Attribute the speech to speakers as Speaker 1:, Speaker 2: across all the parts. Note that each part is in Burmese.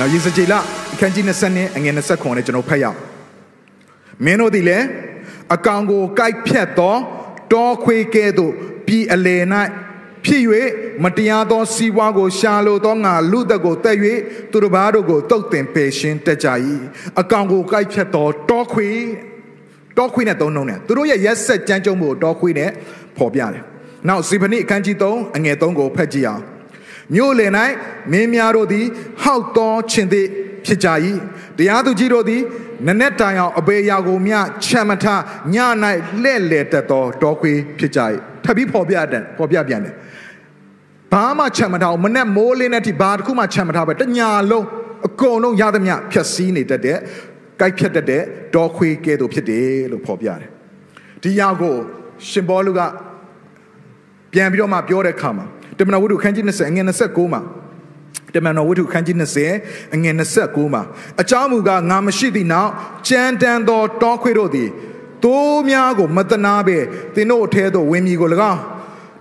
Speaker 1: ဒါရေစကြည်လအခန်းကြီး20နဲ့အငယ်29နဲ့ကျွန်တော်ဖတ်ရအောင်။မင်းတို့သည်လည်းအကောင်ကိုကိုက်ဖြတ်သောတောခွေကဲ့သို့ပြည်အလယ်၌ဖြစ်၍မတရားသောစီးပွားကိုရှာလိုသောငါလူသက်ကိုတက်၍သူတစ်ပါးတို့ကိုတုတ်တင်ပယ်ရှင်းတတ်ကြ၏။အကောင်ကိုကိုက်ဖြတ်သောတောခွေတောခွေနဲ့သုံးနှုံနဲ့သူတို့ရဲ့ရက်ဆက်ကြမ်းကြုံမှုကိုတောခွေနဲ့ပေါ်ပြတယ်။နောက်စီဖနိအခန်းကြီး3အငယ်3ကိုဖတ်ကြည့်အောင်။ မြို့လယ်၌မင်းများတို့သည် ဟောက်သောခြင်းသည်ဖြစ်ကြ၏တရားသူကြီးတို့သည်နနက်တိုင်အောင်အဘေရာကိုမြချမ်းမထည၌လှဲ့လေတတ်သောတောခွေဖြစ်ကြ၏ထပ်ပြီးဖော်ပြတယ်ဖော်ပြပြန်တယ်ဘာမှချမ်းမထအောင်မနဲ့မိုးလင်းတဲ့အထိဘာတစ်ခုမှချမ်းမထပဲတညာလုံးအကုန်လုံးရသမျှဖြတ်စည်းနေတတ်တဲ့ကြိုက်ဖြတ်တတ်တဲ့တောခွေကဲ့သို့ဖြစ်တယ်လို့ဖော်ပြတယ်ဒီရာကို ရှင်ဘောလူက ပြန်ပြီးတော့မှပြောတဲ့အခါမှာတမန်တော်ဝတ္ထုခန်းကြီး20အငယ်29မှာတမန်တော်ဝတ္ထုခန်းကြီး20အငယ်29မှာအကြောင်းမူကားငါမရှိသည့်နောက်ကြမ်းတမ်းသောတောခွေတို့သည်သိုးများကိုမတနာဘဲသင်တို့အထဲသို့ဝင်မိကို၎င်း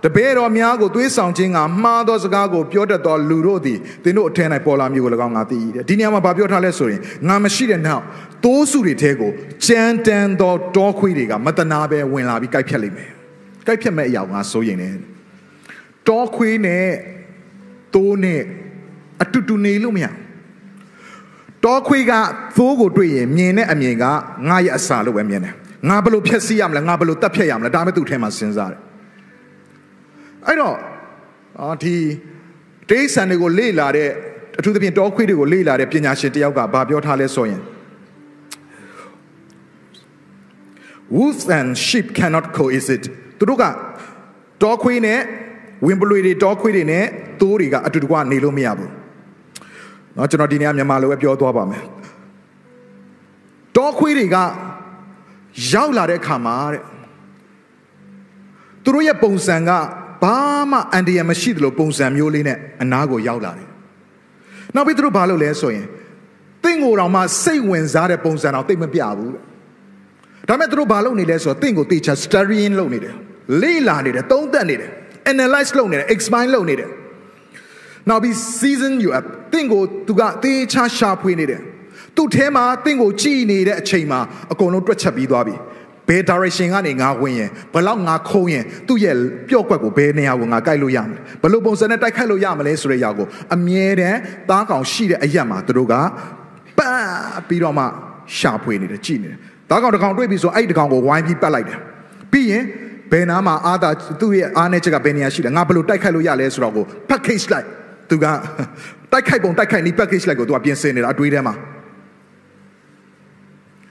Speaker 1: တပည့်တော်များကိုသွေးဆောင်ခြင်းကမှားသောစကားကိုပြောတတ်သောလူတို့သည်သင်တို့အထဲ၌ပေါ်လာမျိုးကို၎င်းငါသိ၏တဲ့ဒီနေရာမှာဗာပြောထားလဲဆိုရင်ငါမရှိတဲ့နောက်သိုးစုတွေထဲကိုကြမ်းတမ်းသောတောခွေတွေကမတနာဘဲဝင်လာပြီးကြိုက်ဖြတ်လိမ့်မယ်ကြိုက်ဖြတ်မဲ့အရာကိုငါစိုးရင်တယ် တောခွေးနဲ့သိုးနဲ့အတူတူနေလို့မရဘူးတောခွေးကသိုးကိုတွေ့ရင်မြင်တဲ့အမြင်ကငါရဲ့အစာလို့ပဲမြင်တယ်ငါဘယ်လိုဖြက်စီးရမလဲငါဘယ်လိုတတ်ဖြက်ရမလဲဒါမှသူ့ထဲမှာစဉ်းစားတယ်အဲ့တော့အာဒီတိရစ္ဆာန်တွေကိုလေ့လာတဲ့အထူးသဖြင့်တောခွေးတွေကိုလေ့လာတဲ့ပညာရှင်တစ်ယောက်ကဗာပြောထားလဲဆိုရင် wolves and sheep cannot coexist သူတို့ကတောခွေးနဲ့ဝင်ပလွေတွေတောခွေးတွေနဲ့သိုးတွေကအတူတကွနေလို့မရဘူးเนาะကျွန်တော်ဒီနေ့ကမြန်မာလိုပဲပြောသွားပါမယ်တောခွေးတွေကရောက်လာတဲ့အခါမှာတဲ့သူတို့ရဲ့ပုံစံကဘာမှအန္တရာယ်မရှိသလိုပုံစံမျိုးလေးနဲ့အနာကိုရောက်လာတယ်နောက်ပြီးသူတို့ဘာလုပ်လဲဆိုရင်တင့်ကိုတောင်မှစိတ်ဝင်စားတဲ့ပုံစံတော့တိတ်မပြဘူးတဲ့ ဒါပေမဲ့သူတို့ဘာလုပ်နေလဲဆိုတော့တင့်ကိုတေချာ studying လုပ်နေတယ်လေးလာနေတယ်သုံးသပ်နေတယ် analyze လုပ်နေတယ် explain လုပ်နေတယ်နောက်ပြီး season you up တင့်ကိုသူကတေချာရှာဖွေနေတယ်သူ့ထဲမှာတင့်ကိုကြည်နေတဲ့အချိန်မှာအကုန်လုံးတွက်ချက်ပြီးသွားပြီဘယ် direction ကနေငါဝင်ရင်ဘယ်လောက်ငါခုံရင်သူ့ရဲ့ပျော့ကွက်ကိုဘယ်နေရာကိုငါကိုက်လို့ရမလဲဘယ်လိုပုံစံနဲ့တိုက်ခိုက်လို့ရမလဲဆိုတဲ့အရာကိုအမြဲတမ်းသားကောင်ရှိတဲ့အရက်မှာသူတို့က ပန်းပြီးတော့မှရှာဖွေနေတယ်ကြည်နေတယ်။ဒါကောင်တစ်ကောင်တွေ့ပြီဆိုအဲ့ဒီတစ်ကောင်ကိုဝိုင်းပြီးပတ်လိုက်တယ်။ပြီးရင်ဘယ်နာမှာအာသာသူ့ရဲ့အားနဲ့ချက်ကဘယ်နေရာရှိလဲငါဘယ်လိုတိုက်ခိုက်လို့ရလဲဆိုတော့ကို package လိုက်သူကတိုက်ခိုက်ပုံတိုက်ခိုက်နီး package လိုက်ကိုသူကပြင်ဆင်နေတာအတွေးထဲမှာ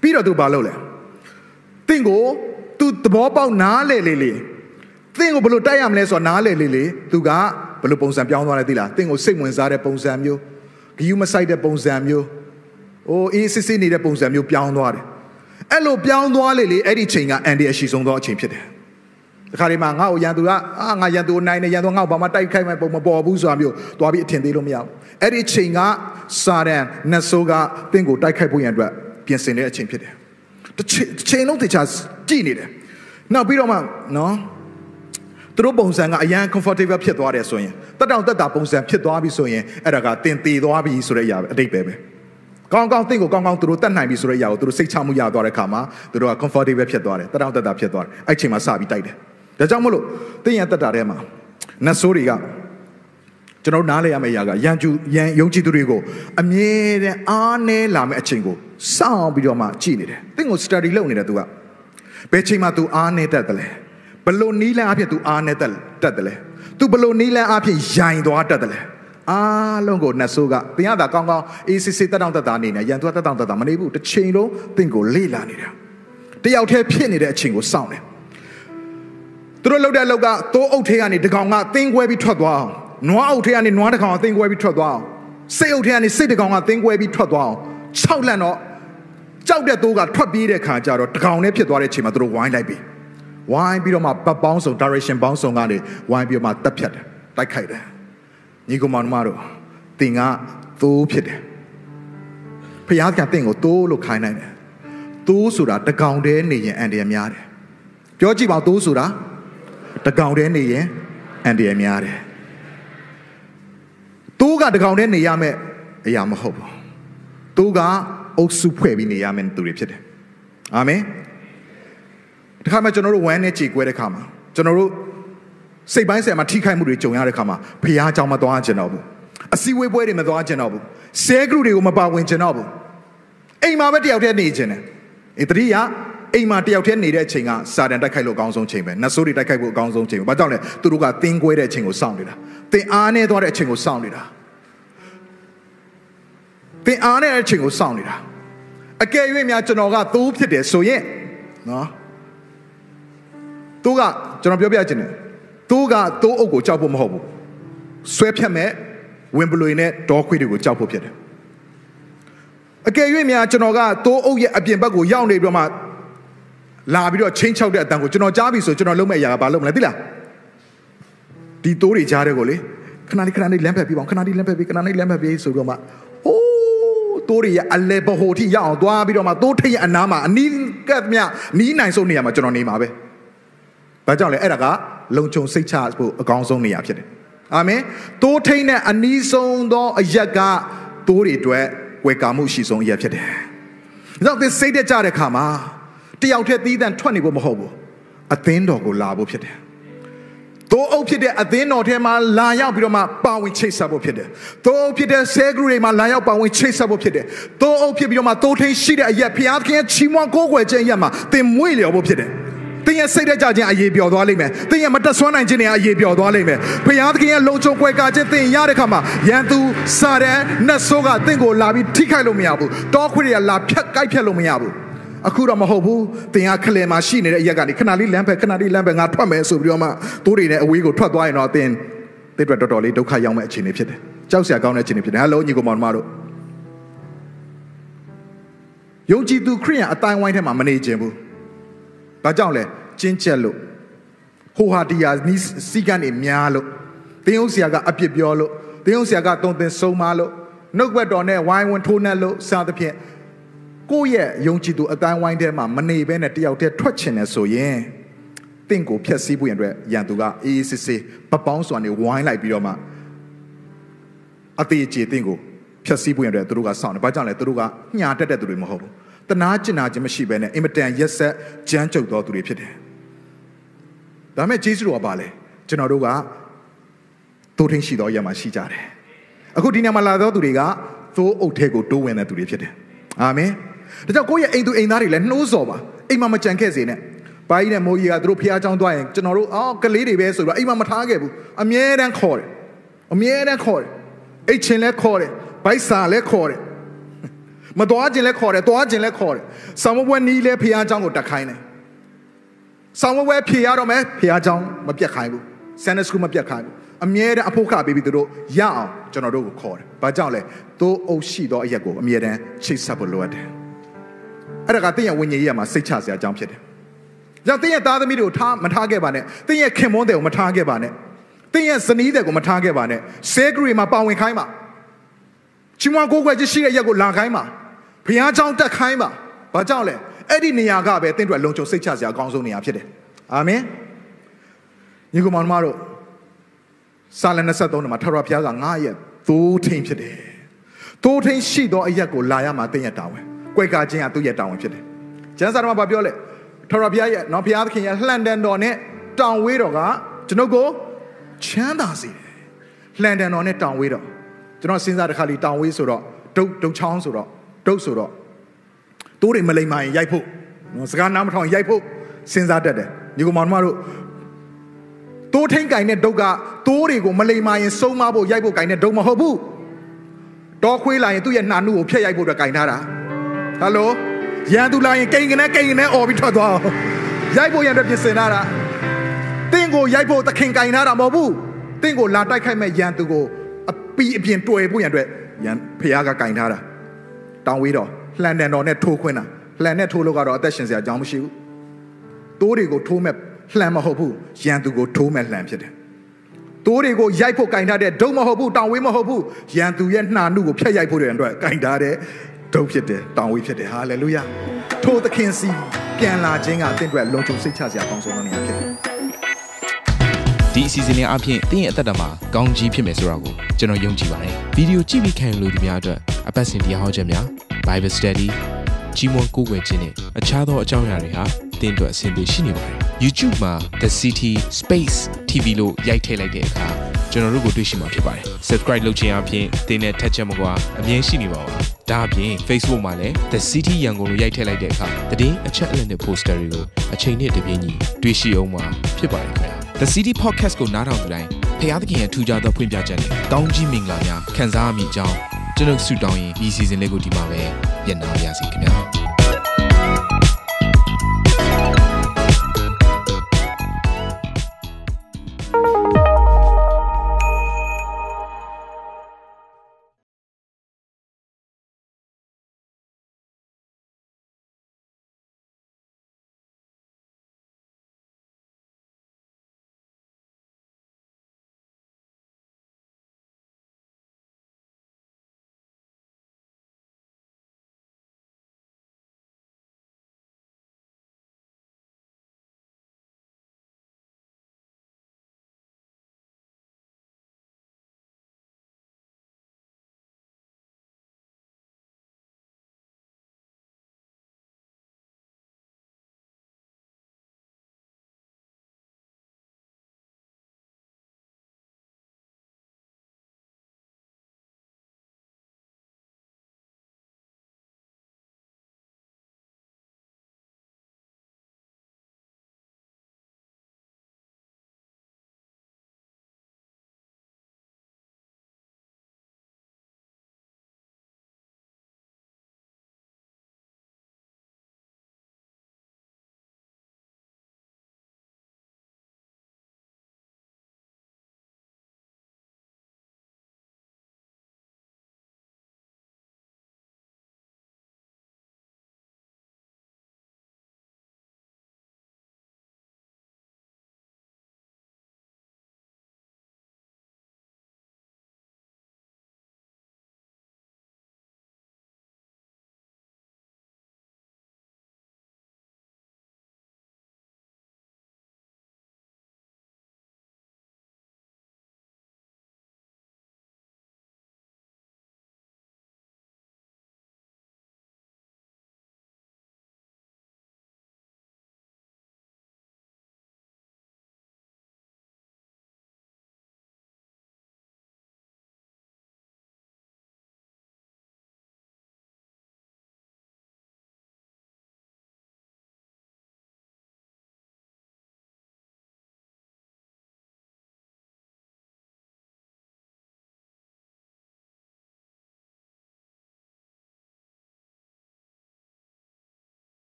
Speaker 1: ပြီးတော့သူဘာလုပ်လဲတင့်ကိုသူသဘောပေါက်နားလေလေလေတင့်ကိုဘယ်လိုတိုက်ရမလဲဆိုတော့နားလေလေလေသူကဘယ်လိုပုံစံပြောင်းသွားလဲသိလားတင့်ကိုစိတ်ဝင်စားတဲ့ပုံစံမျိုးဂယူးမဆိုင်တဲ့ပုံစံမျိုး ။အိုးအေးစစ်စစ်နေတဲ့ပုံစံမျိုးပြောင်းသွားတယ်။အဲ့လိုပြောင်းသွားလေလေအဲ့ဒီချိန်ကအန်ဒီအရှိဆုံးသောအချိန်ဖြစ်တယ်။ဒီခါဒီမှာငါ့ကိုရန်သူကအာငါရန်သူကိုနိုင်နေရန်သူကငါ့ကိုဘာမှတိုက်ခိုက်မဲ့ပုံမပေါ်ဘူးဆိုတာမျိုးသွားပြီးအထင်သေးလို့မရဘူး။အဲ့ဒီချိန်ကစာရန်နတ်ဆိုးကတင့်ကိုတိုက်ခိုက်ဖို့ရန်အတွက်ပြင်ဆင်တဲ့အချိန်ဖြစ်တယ်။တစ်ချိန်တစ်ချိန်လုံးတခြားကြည်နေတယ်။နောက်ပြီးတော့မှနော်သူတို့ပုံစံကအရန် comfortable ဖြစ်သွားတယ်ဆိုရင်တက်တောင်တက်တာပုံစံဖြစ်သွားပြီဆိုရင်အဲ့ဒါကတင်သေးသွားပြီဆိုတဲ့အရာပဲအတိတ်ပဲပဲ ကောင်းကောင်းတင့်ကိုကောင်းကောင်းသူတို့တတ်နိုင်ပြီဆိုတဲ့အရာကိုသူတို့စိတ်ချမှုရသွားတဲ့အခါမှာသူတို့က comfortable ဖြစ်သွားတယ်တတောင့်တတာဖြစ်သွားတယ်အဲ့ချိန်မှာစပြီးတိုက်တယ်ဒါကြောင့်မို့လို့တင့်ရတတ်တာထဲမှာနတ်ဆိုးတွေကကျွန်တော်တို့နားလည်ရမယ့်အရာကရန်ကျူရန်ယုံကြည်သူတွေကိုအမြဲတမ်းအားနည်းလာမယ့်အချိန်ကိုစောင့်ပြီးတော့မှကြည်နေတယ်တင့်ကို study လုပ်နေတယ်သူက ဘယ်ချိန်မှ तू အားနေတတ်တယ်လဲဘလို့နီးလန်းအဖြစ် तू အားနေတတ်တတ်တယ်လဲ तू ဘလို့နီးလန်းအဖြစ်ယိုင်သွားတတ်တယ်လဲအားလုံးကိုနှဆိုးကတင်ရတာကောင်းကောင်းအေးစစ်စစ်တက်တောင့်တက်တာနေနေရန်သူကတက်တောင့်တက်တာမနေဘူးတစ်ချိန်လုံးတင့်ကိုလေ့လာနေတာတယောက်တည်းဖြစ်နေတဲ့အချိန်ကိုစောင့်နေ သူတို့လောက်တဲ့လောက်ကသိုးအုပ်ထဲကနေတကောင်ကသင်းခွဲပြီးထွက်သွားအောင်နွားအုပ်ထဲကနေနွားတကောင်ကသင်းခွဲပြီးထွက်သွားအောင် စိတ်အုပ်ထဲကနေစိတ်တကောင်ကသင်ကွဲပြီးထွက်သွားအောင်၆လက်တော့ကြောက်တဲ့သိုးကထွက်ပြေးတဲ့ခါကျတော့တကောင်နဲ့ဖြစ်သွားတဲ့အချိန်မှာသူတို့ဝိုင်းလိုက်ပြီဝိုင်းပြီးတော့မှပတ်ပေါင်းစုံ direction ပေါင်းစုံကနေဝိုင်းပြီးတော့မှတက်ဖြတ်တယ်တိုက်ခိုက်တယ်ညီကောင်မောင်နှမတို့သင်ကသိုးဖြစ်တယ်ဖျားကတင့်ကိုသိုးလို့ခိုင်းနိုင်တယ်သိုးဆိုတာတကောင်တည်းနေရင်အန်တရယ်များတယ်ပြောကြည့်ပါသိုးဆိုတာတကောင်တည်းနေရင်အန်တရယ်များတယ် သူကတကောင်တည်းနေရမယ်အရာမဟုတ်ဘူးသူကအုပ်စုဖွဲ့ပြီးနေရမယ်သူတွေဖြစ်တယ်အာမင်ဒီခါမှာကျွန်တော်တို့ဝမ်းနဲ့ကြေကွဲတဲ့ခါမှာကျွန်တော်တို့စိတ်ပိုင်းဆိုင်ရာမှာထိခိုက်မှုတွေကြုံရတဲ့ခါမှာဖះเจ้าမသွားကျင်တော့ဘူးအစည်းအဝေးပွဲတွေမသွားကျင်တော့ဘူးဆဲဂရုတွေကိုမပါဝင်ကျင်တော့ဘူးအိမ်မှာပဲတယောက်တည်းနေကျင်တယ်အေးတတိယအိမ်မှာတယောက်တည်းနေတဲ့အချိန်ကစာတန်တိုက်ခိုက်လို့အကောင်းဆုံးချိန်ပဲနတ်ဆိုးတွေတိုက်ခိုက်ဖို့အကောင်းဆုံးချိန်ပဲဘာကြောင့်လဲသူတို့ကသင်ကွဲတဲ့အချိန်ကိုစောင့်နေတာသင်အားနေသွားတဲ့အချိန်ကိုစောင့်နေတာ သင်အားနဲ့အချိန်ကိုစောင့်နေတာအကယ်၍များကျွန်တော်ကသိုးဖြစ်တယ်ဆိုရင်နော်သူကကျွန်တော်ပြောပြချင်တယ်သူကသိုးအုပ်ကိုကြောက်ဖို့မဟုတ်ဘူးဆွဲဖြတ်မဲ့ဝင်ပလွေနဲ့ဒေါခွေတွေကိုကြောက်ဖို့ဖြစ်တယ်အကယ်၍များကျွန်တော်ကသိုးအုပ်ရဲ့အပြင်ဘက်ကိုရောက်နေပြီးတော့မှလာပြီးတော့ချင်းချောက်တဲ့အတန်ကိုကျွန်တော်ကြားပြီဆိုကျွန်တော်လုံးမဲ့အရာကဘာလုံးမလဲသိလား ဒီတိုးတွေကြားတဲ့ကိုလေခဏလေးခဏလေးလမ်းဖက်ပြပါအောင်ခဏလေးလမ်းဖက်ပြခဏလေးလမ်းဖက်ပြဆိုပြီးတော့မှအိုးတိုးတွေရအလဲပဟိုထိရအောင်သွားပြီးတော့မှတိုးထိပ်ရအနားမှာအနီးကပ်မြနီးနိုင်ဆုံးနေရာမှာကျွန်တော်နေမှာပဲဘာကြောင့်လဲအဲ့ဒါကလုံခြုံစိတ်ချဖို့အကောင်းဆုံးနေရာဖြစ်တယ်အာမင်တိုးထိပ်နဲ့အနီးဆုံးသောအရက်ကတိုးတွေအတွက်ဝေကာမှုရှိဆုံးအရက်ဖြစ်တယ် ။ဒါကြောင့်သင်စိတ်တက်ကြတဲ့ခါမှာတယောက်တည်းသီးသန့်ထွက်နေဖို့မဟုတ်ဘူး။အသင်းတော်ကိုလာဖို့ဖြစ်တယ်။သိုးအုပ်ဖြစ်တဲ့အသင်းတော်ထဲမှာလာရောက်ပြီးတော့မှပါဝင်ချိတ်ဆက်ဖို့ဖြစ်တယ်။သိုးအုပ်ဖြစ်တဲ့ဆဲဂရုတွေမှာလာရောက်ပါဝင်ချိတ်ဆက်ဖို့ဖြစ်တယ်။သိုးအုပ်ဖြစ်ပြီးတော့မှသိုးထင်းရှိတဲ့အရက်ဖျားသခင်ရဲ့ချီးမွမ်းကိုးကွယ်ခြင်းအရက်မှာသင်မွေ့လျော်ဖို့ဖြစ်တယ်။သင်ရဲ့စိတ်တက်ကြခြင်းအရေးပျော်သွားလိမ့်မယ်။သင်ရဲ့မတက်ဆွမ်းနိုင်ခြင်းတွေအရေးပျော်သွားလိမ့်မယ်။ဖျားသခင်ရဲ့လုံခြုံကွယ်ကာခြင်းသင်ရတဲ့ခါမှာရန်သူစာတဲ့နှက်ဆိုးကသင်ကိုလာပြီးထိခိုက်လို့မရဘူး။တောခွေတွေကလာဖြတ်ကိုက်ဖြတ်လို့မရဘူး။ အခုတော့မဟုတ်ဘူးသင်ကခလေမှာရှိနေတဲ့အရက်ကနေခဏလေးလမ်းဖက်ခဏလေးလမ်းဖက်ငါထွက်မယ်ဆိုပြီးတော့မှသိုးတွေနဲ့အဝေးကိုထွက်သွားရင်တော့သင်သစ်အတွက်တော်တော်လေးဒုက္ခရောက်မဲ့အခြေအနေဖြစ်တယ်ကြောက်စရာကောင်းတဲ့အခြေအနေဖြစ်တယ်ဟယ်လိုညီကောင်မောင်နှမတို့ယုံကြည်သူခရိယန်အတိုင်းဝိုင်းထဲမှာမနေခြင်းဘူးဒါကြောင့်လဲကျင်းချက်လို့ ဟိုဟာတရားနီးစီကန်းနေများလို့တင်းယုံဆရာကအပြစ်ပြောလို့တင်းယုံဆရာကတုံတင်ဆုံးမလို့နှုတ်ကပတ်တော်နဲ့ဝိုင်းဝန်းထိုးနှက်လို့စသဖြင့်ကိုယ့်ရဲ့ယုံကြည်သူအတိုင်းဝိုင်းထဲမှာမနေဘဲနဲ့တယောက်တည်းထွက်ချင်တယ်ဆိုရင်တင့်ကိုဖျက်ဆီးဖို့ရန်အတွက်ရန်သူကအေးအေးဆေးဆေးပပောင်းစွာနဲ့ဝိုင်းလိုက်ပြီးတော့မှအသေးအချေတင့်ကိုဖျက်ဆီးဖို့ရန်အတွက်သူတို့ကစောင့်တယ်။ဘာကြောင့်လဲသူတို့ကညှာတက်တဲ့သူတွေမဟုတ်ဘူး။တနာကျင်နာခြင်းမရှိဘဲနဲ့အင်မတန်ရက်ဆက်ကြမ်းကြုတ်သောသူတွေဖြစ်တယ်။ဒါပေမဲ့ဂျေစုတို့ကပါလေကျွန်တော်တို့ကသိုးထင်းရှိသောအရာမှာရှိကြတယ်။ အခုဒီနေရာမှာလာသောသူတွေကသိုးအုပ်ထဲကိုတိုးဝင်တဲ့သူတွေဖြစ်တယ်။အာမင်။ဒါကြောင့်ကိုယ့်ရဲ့အိမ်သူအိမ်သားတွေလည်းနှိုးဆော်ပါ။အိမ်မှာမကြံခဲ့စေနဲ့။ဘာကြီးနဲ့မိုးကြီးကသူတို့ဖျားချောင်းသွားရင်ကျွန်တော်တို့အော်ကလေးတွေပဲဆိုပြီးတော့အိမ်မှာမထားခဲ့ဘူး။အမြဲတမ်းခေါ်တယ်။အမြဲတမ်းခေါ်တယ်။အိတ်ချင်းလည်းခေါ်တယ်။ဘိုက်စာလည်းခေါ်တယ်။မတော်ခြင်းလည်းခေါ်တယ်၊တော်ခြင်းလည်းခေါ်တယ်။ဆောင်းမပွဲနီးလည်းဖျားချောင်းကိုတက်ခိုင်းတယ်။ဆောင်းမပွဲဖြေရတော့မယ်ဖျားချောင်းမပြတ်ခိုင်းဘူး။ Sunday School မပြတ်ခိုင်းဘူး။အမြဲတမ်းအဖို့ခပေးပြီးသူတို့ရအောင်ကျွန်တော်တို့ကိုခေါ်တယ်။ဘာကြောင့်လဲ။သိုးအုပ်ရှိသောအရက်ကိုအမြဲတမ်းချိတ်ဆက်ဖို့လိုအပ်တယ်။အဲ့ဒါကတင့်ရဲ့ဝိညာဉ်ရေးရမှာစိတ်ချစရာအကြောင်းဖြစ်တယ်။ ။ကြောင့်တင်းရဲ့သားသမီးတွေကိုထားမထားခဲ့ပါနဲ့။တင်းရဲ့ခင်မွန်းတွေကိုမထားခဲ့ပါနဲ့။တင်းရဲ့ဇနီးတွေကိုမထားခဲ့ပါနဲ့။ဆဲဂရီမှာပါဝင်ခိုင်းပါ။ချီးမွမ်းကိုးကွယ်ခြင်းရှိတဲ့ရက်ကိုလာခိုင်းပါ။ဘုရားကြောင်းတက်ခိုင်းပါ။ဘာကြောင့်လဲ။အဲ့ဒီနေရာကပဲတင်းအတွက်လုံခြုံစိတ်ချစရာအကောင်းဆုံးနေရာဖြစ်တယ်။အာမင်။ညီကောင်မောင်နှမတို့စာလ23မှာထပ်ရဘုရားကငါရဲ့သိုးထိန်ဖြစ်တယ်။သိုးထိန်ရှိသောအရက်ကိုလာရမှာတင်းရဲ့တာဝန်။ကွယ်ကာခြင်းကသူ့ရဲ့တာဝန်ဖြစ်တယ်။ ကျမ်းစာတော်မှာဗာပြောလဲထာဝရဘုရားရဲ့เนาะဘုရားသခင်ရဲ့လှန်တန်တော်နဲ့တောင်ဝေးတော်ကကျွန်ုပ်ကိုချမ်းသာစေတယ်လှန်တန်တော်နဲ့တောင်ဝေးတော်ကျွန်တော်စဉ်းစားတစ်ခါလေးတောင်ဝေးဆိုတော့ဒုတ်ဒုတ်ချောင်းဆိုတော့ဒုတ်ဆိုတော့တိုးတွေမလိမ္မာရင်ရိုက်ဖို့เนาะစကားနားမထောင်ရင်ရိုက်ဖို့စဉ်းစားတတ်တယ်ညီကောင်မောင်နှမတို့ တိုးထိန်ကင်တဲ့ဒုတ်ကတိုးတွေကိုမလိမ္မာရင်စုံမဖို့ရိုက်ဖို့ကင်တဲ့ဒုတ်မဟုတ်ဘူးတော်ခွေးလာရင်သူ့ရဲ့နှာနှုတ်ကိုဖျက်ရိုက်ဖို့အတွက်ကင်ထားတာဟယ်လိုရန်သူလာရင်ကိန်ကနေကိန်ကနေអော်ပြီးထွက်သွားအောင်ရိုက်ဖို့ရန်အတွက်ပြင်ဆင်ထားတာတင့်ကိုရိုက်ဖို့သခင်ကင်ထားတာမဟုတ်ဘူးတင့်ကိုလာတိုက်ခိုက်မဲ့ရန်သူကိုအပီအပြင်တွေ့ဖို့ရန်အတွက် ရန်ဖះကကင်ထားတာတောင်းဝေးတော်လှန်တန်တော်နဲ့ထိုးခွင်းတာလှန်နဲ့ထိုးလို့ကတော့အသက်ရှင်စရာအကြောင်းမရှိဘူးတိုးတွေကိုထိုးမဲ့လှန်မဟုတ်ဘူးရန်သူကိုထိုးမဲ့လှန်ဖြစ်တယ်တိုးတွေကိုရိုက်ဖို့ကင်ထားတဲ့ဒုံမဟုတ်ဘူးတောင်းဝေးမဟုတ်ဘူးရန်သူရဲ့နှာနှုတ်ကိုဖျက်ရိုက်ဖို့တဲ့အတွက်ကင်ထားတဲ့ဒုံဖြစ်တယ်တောင်းဝေးဖြစ်တယ်ဟာလေလုယာထိုးသခင်စီပြန်လာခြင်းကအသင်အတွက်လုံခြုံစိတ်ချစရာကောင်းဆုံးသောနေရာဖြစ်တယ်
Speaker 2: ဒီအစီအစဉ်လေးအပြင်သင်ရဲ့အသက်တာမှာကောင်းကြီးဖြစ်မယ်ဆိုတာကိုကျွန်တော်ယုံကြည်ပါတယ်ဗီဒီယိုကြည့်ပြီးခံယူလို့ဒီများအတွက်အပတ်စဉ်တရားဟောခြင်းများ Bible Study ကြီးမွန်ကိုယ်ွယ်ခြင်းနဲ့အခြားသောအကြောင်းအရာတွေဟာသင်အတွက်အဆင်ပြေရှိနေပါတယ် YouTube မှာ The City Space TV လို့ရိုက်ထည့်လိုက်တဲ့အခါကျွန်တော်တို့ကိုတွေ့ရှိမှာဖြစ်ပါတယ် Subscribe လုပ်ခြင်းအပြင်သင်နဲ့ထက်ချက်မကွာအမြင်ရှိနေပါပါဒါအပြင် Facebook မှာလည်း The City Yangon လို့ရိုက်ထည့်လိုက်တဲ့အခါသတင်းအချက်အလက်နဲ့ poster တွေကိုအချိန်နဲ့တပြေးညီတွေ့ရှိအောင်မှာဖြစ်ပါတယ်ခင်ဗျာ The City Podcast ကိုနားထောင်ကြတိုင်းဖျားသခင်ရဲ့ထူကြသောဖွင့်ပြချက်နဲ့ကောင်းကြီးမင်္ဂလာများခံစားမိကြောင်းကျွန်တော်ဆုတောင်းရင်ဒီ season လေးကိုဒီမှာပဲညံ့ပါရစေခင်ဗျာ။